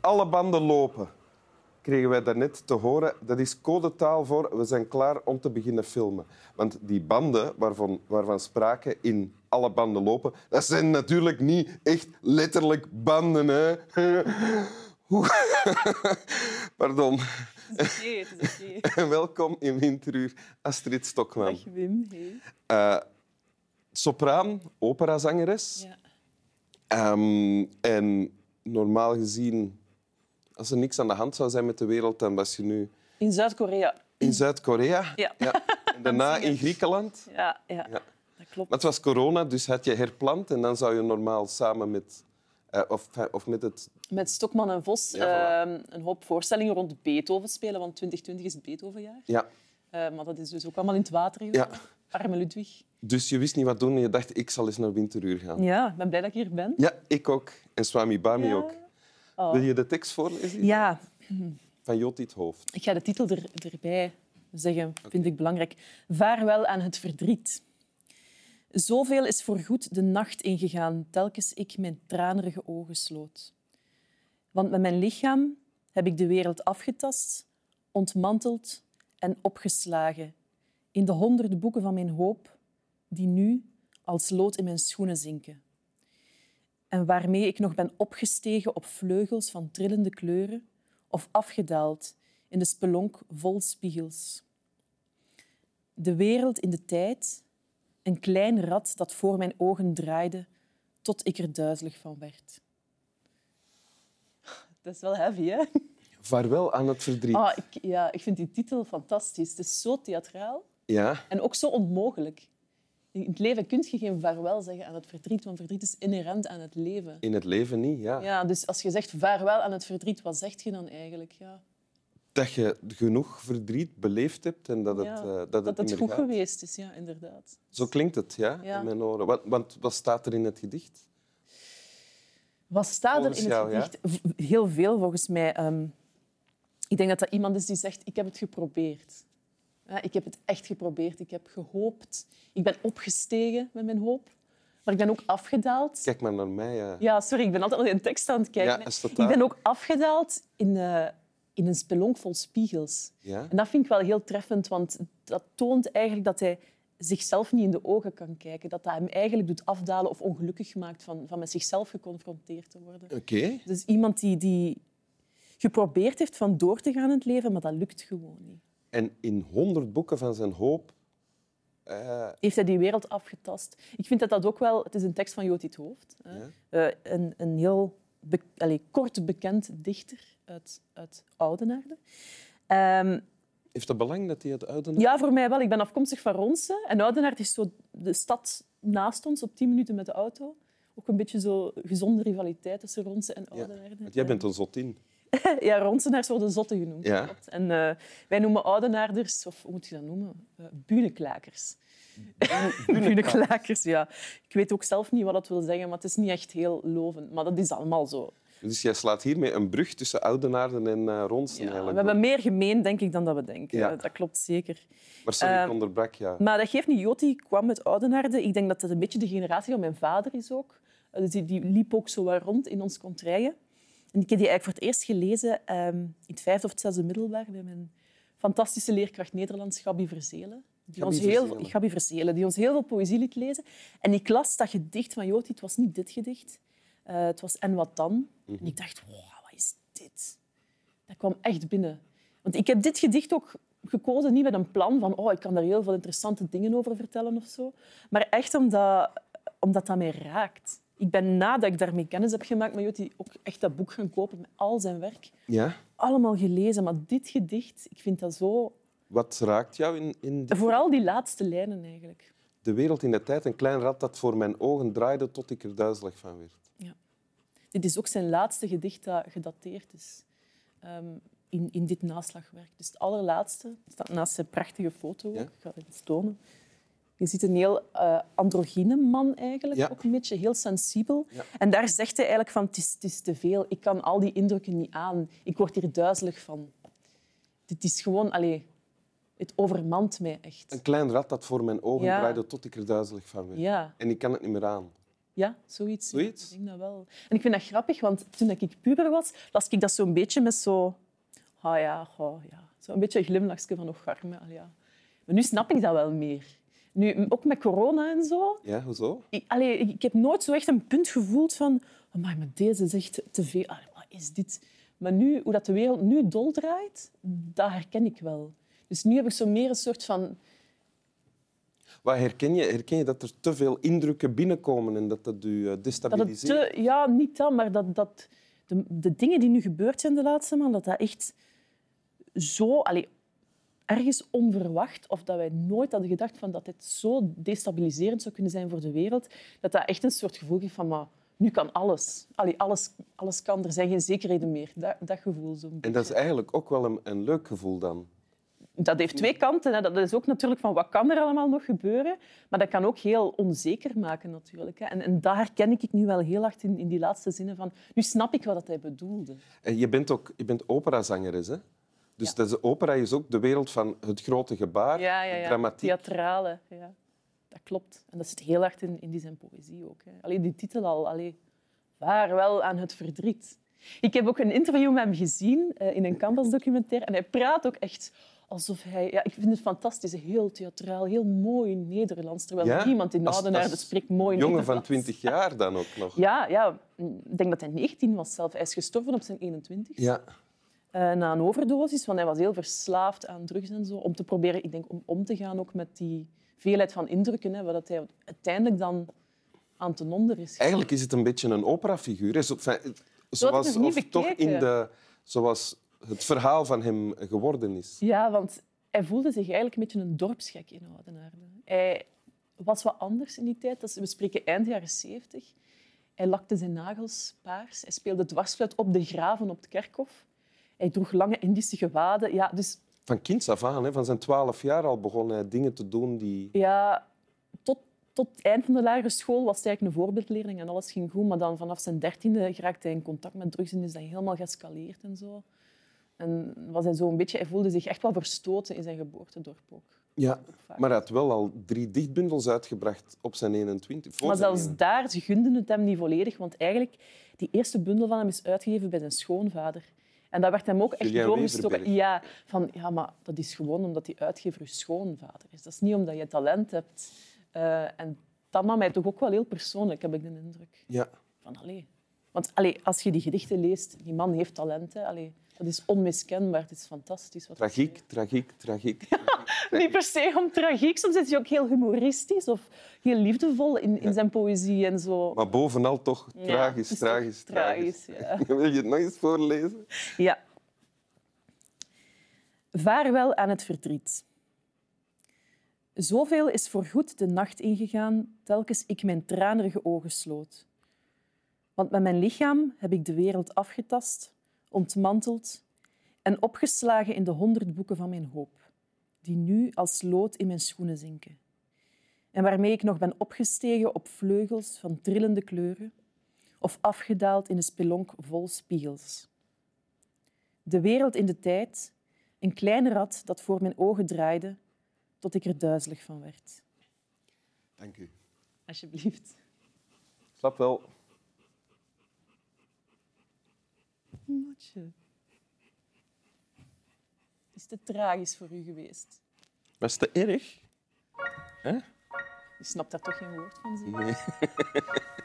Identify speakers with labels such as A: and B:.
A: alle banden lopen. Kregen wij daarnet te horen. Dat is codetaal voor we zijn klaar om te beginnen filmen. Want die banden waarvan, waarvan sprake in alle banden lopen, dat zijn natuurlijk niet echt letterlijk banden. Hè? Oeh. Pardon.
B: Het is oké, het is oké.
A: En welkom in Winteruur, Astrid Stokman.
B: Dag Wim. Hey.
A: Eh, sopraan, operazangeres.
B: Ja.
A: Ehm, en normaal gezien, als er niks aan de hand zou zijn met de wereld, dan was je nu
B: In Zuid-Korea.
A: in Zuid-Korea.
B: Ja.
A: En daarna in Griekenland.
B: Ja, ja.
A: Ja.
B: dat klopt.
A: Maar het was corona, dus had je herplant. En dan zou je normaal samen met... eh, of, of met het...
B: Met Stokman en Vos
A: Ja, voilà.
B: ehm, een hoop voorstellingen rond Beethoven spelen, want 2020 is het Beethovenjaar.
A: Ja,
B: Eh, maar dat is dus ook allemaal in het water.
A: ja.
B: gevallen. Arme Ludwig.
A: Dus je wist niet wat doen en je dacht, ik zal eens naar Winteruur gaan.
B: Ja, ik ben blij dat ik hier ben.
A: Ja, ik ook. En Swami Bami
B: Ja.
A: ook.
B: Oh.
A: Wil je de tekst voorlezen?
B: Ja,
A: Van Joti het Hoofd.
B: ik ga de titel er, erbij zeggen, vind ik belangrijk. Vaarwel aan het verdriet. Zoveel is voorgoed de nacht ingegaan, telkens ik mijn tranerige ogen sloot. Want met mijn lichaam heb ik de wereld afgetast, ontmanteld en opgeslagen in de honderd boeken van mijn hoop, die nu als lood in mijn schoenen zinken. En waarmee ik nog ben opgestegen op vleugels van trillende kleuren of afgedaald in de spelonk vol spiegels. De wereld in de tijd, een klein rad dat voor mijn ogen draaide, tot ik er duizelig van werd. Dat is wel heavy, hè?
A: Vaarwel aan het verdriet.
B: Ah, ik, ja, ik vind die titel fantastisch. Het is zo theatraal
A: Ja,
B: en ook zo onmogelijk. In het leven kun je geen vaarwel zeggen aan het verdriet, want verdriet is inherent aan het leven.
A: in het leven niet, ja.
B: Ja, dus als je zegt vaarwel aan het verdriet, wat zeg je dan eigenlijk? Ja,
A: Dat je genoeg verdriet beleefd hebt en dat het,
B: Ja,
A: eh, dat het,
B: dat
A: niet
B: het
A: meer
B: goed
A: gaat.
B: geweest is, ja, inderdaad.
A: Zo klinkt het, ja,
B: Ja.
A: in mijn oren. Want, want wat staat er in het gedicht?
B: Wat staat er
A: Volgens
B: in het
A: jou, ja?
B: gedicht? V- Heel veel, volgens mij. Ehm, ik denk dat dat iemand is die zegt, ik heb het geprobeerd. Ja, ik heb het echt geprobeerd. Ik heb gehoopt. Ik ben opgestegen met mijn hoop. Maar ik ben ook afgedaald.
A: Kijk maar naar mij. Ja.
B: Ja, sorry, ik ben altijd al in tekst aan het kijken.
A: Ja,
B: hè.
A: is dat
B: ik
A: daar?
B: ben ook afgedaald in, eh, in een spelonk vol spiegels.
A: Ja?
B: En dat vind ik wel heel treffend, want dat toont eigenlijk dat hij zichzelf niet in de ogen kan kijken. Dat dat hem eigenlijk doet afdalen of ongelukkig maakt van, van met zichzelf geconfronteerd te worden.
A: Oké.
B: Dus iemand die, die geprobeerd heeft van door te gaan in het leven, maar dat lukt gewoon niet.
A: En in honderd boeken van zijn hoop... eh,
B: Heeft hij die wereld afgetast? Ik vind dat dat ook wel... Het is een tekst van Joti het Hoofd. Hè?
A: Ja.
B: Eh, een, een heel be, allee, kort bekend dichter uit, uit Oudenaarde. Ehm,
A: heeft het belang dat hij het uitnodigt?
B: Ja, voor mij wel. Ik ben afkomstig van Ronsen. En Oudenaarde is zo de stad naast ons, op 10 minuten met de auto. Ook een beetje zo gezonde rivaliteit tussen Ronsen en Oudenaarde.
A: Want jij bent een zotin.
B: Ja, Ronsenaars worden zotten genoemd.
A: Ja.
B: klopt. En eh, wij noemen Oudenaarders, of hoe moet je dat noemen? Eh bunenklakers. bunenklakers, ja. Ik weet ook zelf niet wat dat wil zeggen, maar het is niet echt heel lovend. Maar dat is allemaal zo.
A: Dus jij slaat hiermee een brug tussen Oudenaarden en eh Ronsen.
B: Ja, we
A: eigenlijk.
B: hebben meer gemeen, denk ik, dan dat we denken.
A: Ja.
B: Eh, Dat klopt zeker.
A: Maar sorry, ik
B: Ehm,
A: onderbrak, ja.
B: Maar dat geeft niet. Joti kwam uit Oudenaarde. Ik denk dat dat een beetje de generatie van mijn vader is ook. Eh, Dus die, die liep ook zo wat rond in ons contraien. En ik heb die eigenlijk voor het eerst gelezen ehm, in het vijfde of het zesde middelbaar bij mijn fantastische leerkracht Nederlands, Gabi Verzelen. Die
A: Gabi
B: ons heel,
A: Verzelen.
B: Gabi Verzelen, die ons heel veel poëzie liet lezen. En ik las dat gedicht van Joti. Het was niet dit gedicht. Eh, het was En wat dan? En ik dacht, wow, wat is dit? Dat kwam echt binnen. Want ik heb dit gedicht ook gekozen, niet met een plan van oh, ik kan daar heel veel interessante dingen over vertellen of zo, maar echt omdat, omdat dat mij raakt. Ik ben nadat ik daarmee kennis heb gemaakt met Joti ook echt dat boek gaan kopen met al zijn werk.
A: ja?
B: Allemaal gelezen, maar dit gedicht, ik vind dat zo...
A: Wat raakt jou in, in die-
B: Vooral die laatste lijnen eigenlijk.
A: de wereld in de tijd? Een klein rad dat voor mijn ogen draaide tot ik er duizelig van werd.
B: Dit is ook zijn laatste gedicht dat gedateerd is ehm, in, in dit naslagwerk. Dus het allerlaatste Het staat naast zijn prachtige foto. ook.
A: Ja.
B: Ik ga het eens tonen. Je ziet een heel eh androgyne man eigenlijk,
A: Ja.
B: ook een beetje heel sensibel.
A: Ja.
B: En daar zegt hij eigenlijk van, het is, het is te veel, ik kan al die indrukken niet aan, ik word hier duizelig van. Dit is gewoon, allee, het overmant mij echt.
A: Een klein rad dat voor mijn ogen
B: Ja.
A: draaide tot ik er duizelig van werd.
B: Ja,
A: En ik kan het niet meer aan.
B: Ja, zoiets. ja.
A: Zoiets?
B: Ik denk dat wel. En ik vind dat grappig, want toen ik puber was, las ik dat zo'n beetje met zo... Ah ja, goh, ja. Zo'n beetje een glimlachje van, oh, arme, ah ja. Maar nu snap ik dat wel meer. Nu, m- ook met corona en zo.
A: Ja, hoezo?
B: Ik, allee, ik heb nooit zo echt een punt gevoeld van... Amai, maar deze is echt te veel. Allee, wat is dit? Maar nu, hoe dat de wereld nu doldraait, dat herken ik wel. Dus nu heb ik zo meer een soort van...
A: Wat herken je? Herken je dat er te veel indrukken binnenkomen en dat dat u eh,
B: Dat het
A: destabiliseert?
B: te, ja, niet dat, maar dat, dat de, de dingen die nu gebeurd zijn de laatste maand, dat dat echt zo... Allee, ergens onverwacht, of dat wij nooit hadden gedacht van dat dit zo destabiliserend zou kunnen zijn voor de wereld, dat dat echt een soort gevoel geeft van... Maar, nu kan alles. Allee, alles. Alles kan, er zijn geen zekerheden meer. Dat, dat gevoel zo'n
A: En dat is eigenlijk ook wel een, een leuk gevoel dan.
B: dat heeft twee kanten. Hè. Dat is ook natuurlijk van wat kan er allemaal nog gebeuren. Maar dat kan ook heel onzeker maken natuurlijk. Hè. En, en dat herken ik nu wel heel hard in, in die laatste zinnen van... Nu snap ik wat dat hij bedoelde.
A: En je bent ook je bent operazangeres, hè? Dus dat is, opera is ook de wereld van het grote gebaar, de dramatiek.
B: Theatrale, ja. Dat klopt. En dat zit heel hard in, in die zijn poëzie ook. Hè. Allee, die titel al. Allee, vaarwel aan het verdriet. Ik heb ook een interview met hem gezien eh, in een Canvas-documentaire. En hij praat ook echt alsof hij... Ja, ik vind het fantastisch. Heel theatraal, heel mooi Nederlands. Terwijl
A: Ja?
B: niemand in
A: Als-
B: Oudenaarde
A: als
B: spreekt mooi
A: Jongen van
B: Nederlands.
A: 20 jaar dan ook nog.
B: Ja, ja, ik denk dat hij 19 was zelf. Hij is gestorven op zijn 21
A: Ja.
B: eh, na een overdosis, want hij was heel verslaafd aan drugs en zo, om te proberen, ik denk, om om te gaan ook met die veelheid van indrukken, hè, wat dat hij uiteindelijk dan aan ten onder is. gegaan.
A: Eigenlijk is het een beetje een operafiguur. hè. Zo- enfin, het-
B: Zo had ik
A: Zoals,
B: het nog niet
A: of toch
B: bekeken.
A: in de, zoals het verhaal van hem geworden is.
B: Ja, want hij voelde zich eigenlijk een beetje een dorpsgek in Oudenaarde. Hij was wat anders in die tijd. Dat is- We spreken eind jaren zeventig. Hij lakte zijn nagels paars. Hij speelde dwarsfluit op de graven op het kerkhof. Hij droeg lange Indische gewaden. Ja, dus
A: Van kinds af aan, hè, van zijn 12 jaar al begon hij dingen te doen die...
B: Ja, tot, tot het eind van de lagere school was hij eigenlijk een voorbeeldleerling en alles ging goed. Maar dan vanaf zijn dertiende raakte hij in contact met drugs en is dat helemaal geëscaleerd en zo. En was hij zo een beetje, hij voelde zich echt wel verstoten in zijn geboortedorp ook.
A: Ja,
B: Ook vaak.
A: maar hij had wel al drie dichtbundels uitgebracht op zijn 21. Voor
B: Maar
A: zijn
B: zelfs
A: 21.
B: daar, ze gunden het hem niet volledig. Want eigenlijk, die eerste bundel van hem is uitgegeven bij zijn schoonvader. En dat werd hem ook echt
A: Julien
B: doorgestoken.
A: Weverberg.
B: Ja, van, ja, maar dat is gewoon omdat die uitgever je schoonvader is. Dat is niet omdat je talent hebt. Eh, en dat nam mij toch ook wel heel persoonlijk, heb ik de indruk.
A: Ja.
B: Van, allee. Want allee, als je die gedichten leest, die man heeft talent. Hè, allee. Dat is onmiskenbaar. Het is fantastisch. Wat hij
A: Tragiek, tragiek, tragiek.
B: niet per se om tragiek. Soms is hij ook heel humoristisch of heel liefdevol in, in zijn poëzie en zo.
A: Maar bovenal toch
B: Ja,
A: tragisch,
B: het is toch
A: tragisch, tragisch.
B: ja.
A: Wil je het nog eens voorlezen?
B: ja. Vaarwel aan het verdriet. Zoveel is voorgoed de nacht ingegaan, telkens ik mijn tranerige ogen sloot. Want met mijn lichaam heb ik de wereld afgetast, ontmanteld en opgeslagen in de honderd boeken van mijn hoop, die nu als lood in mijn schoenen zinken. En waarmee ik nog ben opgestegen op vleugels van trillende kleuren of afgedaald in een spelonk vol spiegels. De wereld in de tijd, een klein rad dat voor mijn ogen draaide, tot ik er duizelig van werd.
A: Dank u.
B: Alsjeblieft.
A: Slap wel.
B: Matje. Is het te tragisch voor u geweest?
A: Was het te erg?
B: U snapt daar toch geen woord van, zeg?
A: Nee.